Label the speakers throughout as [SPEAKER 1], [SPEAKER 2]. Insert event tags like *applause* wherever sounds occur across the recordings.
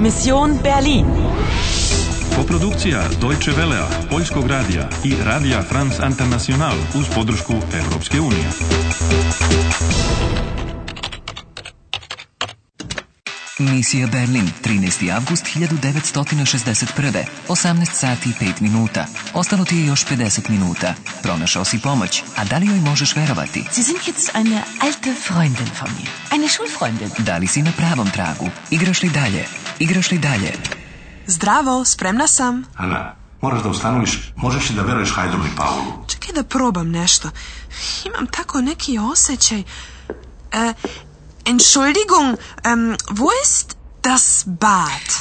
[SPEAKER 1] Mission Berlin.
[SPEAKER 2] Koprodukcija Deutsche Velea, Poljskog radija i Radija France International uz podršku Europske unije.
[SPEAKER 3] Misija Berlin, 13. avgust 1961. 18 sati i 5 minuta. Ostalo ti je još 50 minuta. Pronašao si pomoć, a da li joj možeš verovati?
[SPEAKER 4] Sie sind jetzt eine alte Freundin von mir. Eine Schulfreundin.
[SPEAKER 3] Da li si na pravom tragu? Igraš li dalje? Igraš li dalje?
[SPEAKER 5] Zdravo, spremna sam.
[SPEAKER 6] Ana, moraš da ustanoviš, možeš li da veruješ Hajdru i Paulu?
[SPEAKER 5] Čekaj da probam nešto. Imam tako neki osjećaj. E, Entschuldigung, em, wo ist das Bad?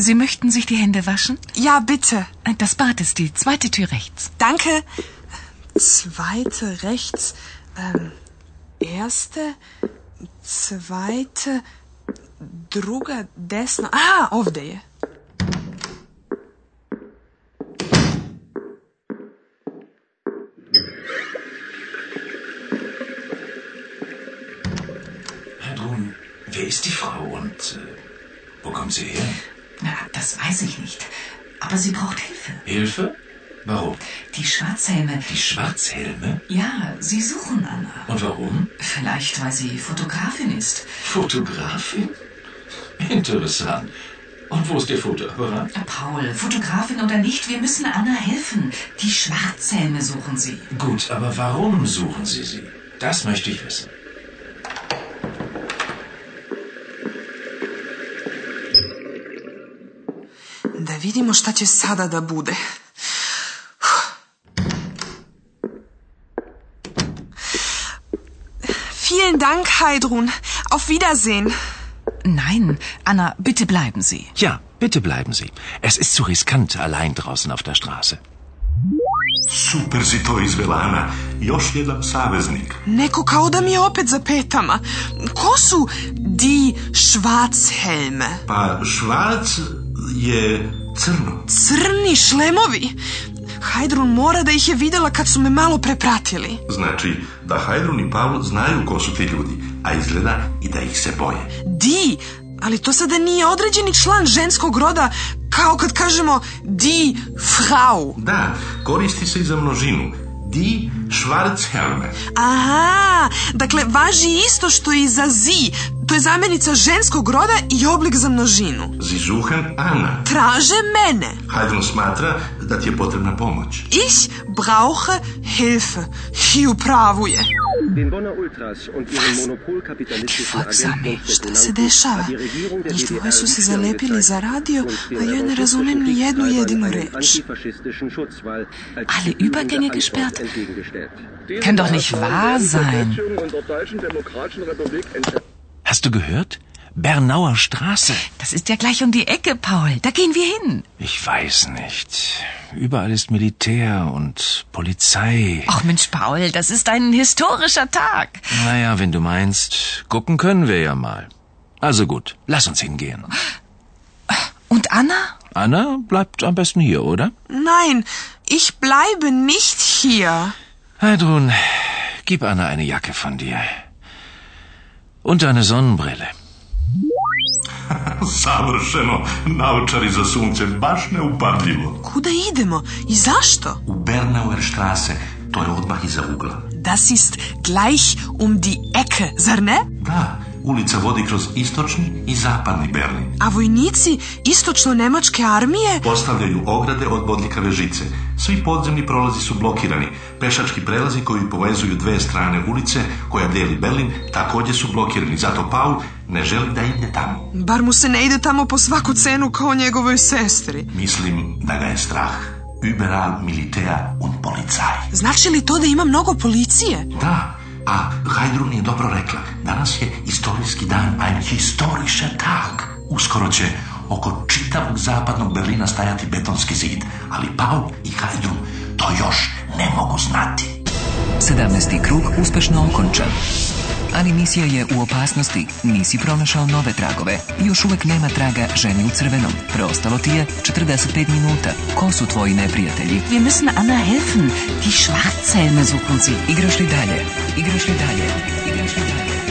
[SPEAKER 4] Sie möchten sich die Hände waschen?
[SPEAKER 5] Ja, bitte.
[SPEAKER 4] Das Bad ist die zweite Tür rechts.
[SPEAKER 5] Danke. Zweite rechts. Ähm, erste, zweite, druga Ah, desno. A, ovdje je.
[SPEAKER 7] Heidrun, wer ist die Frau und äh, wo kommt sie her?
[SPEAKER 4] Na, das weiß ich nicht. Aber sie braucht Hilfe.
[SPEAKER 7] Hilfe? Warum?
[SPEAKER 4] Die Schwarzhelme.
[SPEAKER 7] Die Schwarzhelme?
[SPEAKER 4] Ja, sie suchen Anna.
[SPEAKER 7] Und warum?
[SPEAKER 4] Vielleicht, weil sie Fotografin ist.
[SPEAKER 7] Fotografin? Interessant. Und wo ist ihr Fotoapparat?
[SPEAKER 4] Paul, Fotografin oder nicht, wir müssen Anna helfen. Die Schwarzhelme suchen sie.
[SPEAKER 7] Gut, aber warum suchen Sie sie? Das möchte ich wissen.
[SPEAKER 5] Da vidimo šta će sada da bude. Vielen Dank, Heidrun. Auf Wiedersehen.
[SPEAKER 4] Nein, Anna, bitte bleiben Sie.
[SPEAKER 7] Ja, bitte bleiben Sie. Es ist zu riskant, allein draußen auf der Straße.
[SPEAKER 6] Super si to izvela, Ana. Još jedan saveznik.
[SPEAKER 5] Neko kao da mi je opet za petama. Ko su die Schwarzhelme?
[SPEAKER 6] Pa švarc je crno.
[SPEAKER 5] Crni šlemovi? Hajdrun mora da ih je vidjela kad su me malo prepratili.
[SPEAKER 6] Znači da Hajdrun i Pavlo znaju ko su ti ljudi, a izgleda i da ih se boje.
[SPEAKER 5] Di, ali to sada nije određeni član ženskog roda kao kad kažemo di frau.
[SPEAKER 6] Da, koristi se i za množinu. Di Schwarzhelme.
[SPEAKER 5] Aha, dakle važi isto što i za zi. To je zamjenica ženskog roda i oblik za množinu.
[SPEAKER 6] Sie suchen Ana.
[SPEAKER 5] Traže mene.
[SPEAKER 6] Hajdrun smatra da ti je potrebna pomoć. *laughs*
[SPEAKER 5] Ich brauche Hilfe. I u pravu je.
[SPEAKER 8] Den Bonner Ultras und ihren monopolkapitalistischen
[SPEAKER 5] Folgsame,
[SPEAKER 8] Agenten
[SPEAKER 5] šta se dešava? Njih dvoje su se zalepili za radio, a ja ne razumijem ni jednu jedinu reč.
[SPEAKER 8] Alle Übergänge gesperrt?
[SPEAKER 4] Kann doch nicht wahr sein.
[SPEAKER 7] Hast du gehört? Bernauer Straße.
[SPEAKER 4] Das ist ja gleich um die Ecke, Paul. Da gehen wir hin.
[SPEAKER 7] Ich weiß nicht. Überall ist Militär und Polizei.
[SPEAKER 4] Ach Mensch, Paul, das ist ein historischer Tag.
[SPEAKER 7] Naja, wenn du meinst, gucken können wir ja mal. Also gut, lass uns hingehen.
[SPEAKER 4] Und Anna?
[SPEAKER 7] Anna bleibt am besten hier, oder?
[SPEAKER 5] Nein, ich bleibe nicht hier.
[SPEAKER 7] Heidrun, gib Anna eine Jacke von dir. Und eine Sonnenbrille.
[SPEAKER 6] Savršeno, naučari za sunce, baš neupadljivo.
[SPEAKER 5] Kuda idemo i zašto?
[SPEAKER 6] U Bernauer Strasse, to je odmah iza ugla.
[SPEAKER 5] Das ist gleich um die Ecke, zar ne?
[SPEAKER 6] Da, ulica vodi kroz istočni i zapadni Berlin.
[SPEAKER 5] A vojnici istočno-nemačke armije
[SPEAKER 6] Postavljaju ograde od bodljikave žice. Svi podzemni prolazi su blokirani. Pešački prelazi koji povezuju dve strane ulice koja dijeli Berlin također su blokirani. Zato Paul ne želi da ide tamo.
[SPEAKER 5] Bar mu se ne ide tamo po svaku cenu kao njegovoj sestri.
[SPEAKER 6] Mislim da ga je strah. Überall Militär und Polizei.
[SPEAKER 5] Znači li to da ima mnogo policije?
[SPEAKER 6] Da, a Hajdrun je dobro rekla. Danas je istorijski dan, ein historischer Tag. Uskoro će oko čitavog zapadnog Berlina stajati betonski zid, ali Paul i Hajdrun to još ne mogu znati.
[SPEAKER 3] 17. krug uspešno okončan. Ali misija je u opasnosti, nisi pronašao nove tragove i još uvek nema traga ženi u crvenom. Preostalo ti je 45 minuta. Ko su tvoji neprijatelji?
[SPEAKER 4] Wir müssen Anna helfen. Die Schwarzhelme suchen sie.
[SPEAKER 3] Igraš li dalje? Igraš li dalje? Igraš li dalje?